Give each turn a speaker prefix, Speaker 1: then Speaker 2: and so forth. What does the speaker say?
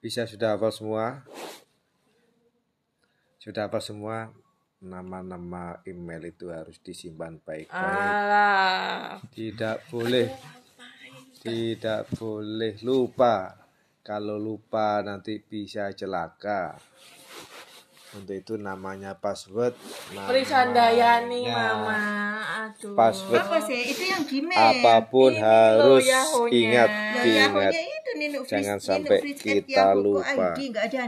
Speaker 1: Bisa sudah hafal semua? Sudah hafal semua? Nama-nama email itu harus disimpan
Speaker 2: Ah.
Speaker 1: baik-baik.
Speaker 2: Alah.
Speaker 1: Tidak boleh tidak boleh lupa. Kalau lupa nanti bisa celaka. Untuk itu namanya password.
Speaker 2: Periksa Dayani,
Speaker 1: namanya
Speaker 2: Mama. Aduh.
Speaker 1: Password
Speaker 3: Apa sih? Itu yang Gmail.
Speaker 1: apapun
Speaker 2: Ini
Speaker 1: harus
Speaker 2: loh Yahoo-nya.
Speaker 1: ingat
Speaker 3: Nah,
Speaker 1: diingat.
Speaker 3: Yahoo-nya itu Nino
Speaker 1: Jangan
Speaker 3: Fris-
Speaker 1: sampai
Speaker 3: Nino Frisket
Speaker 1: kita
Speaker 3: Yahoo.id.
Speaker 1: lupa.
Speaker 3: Nggak ada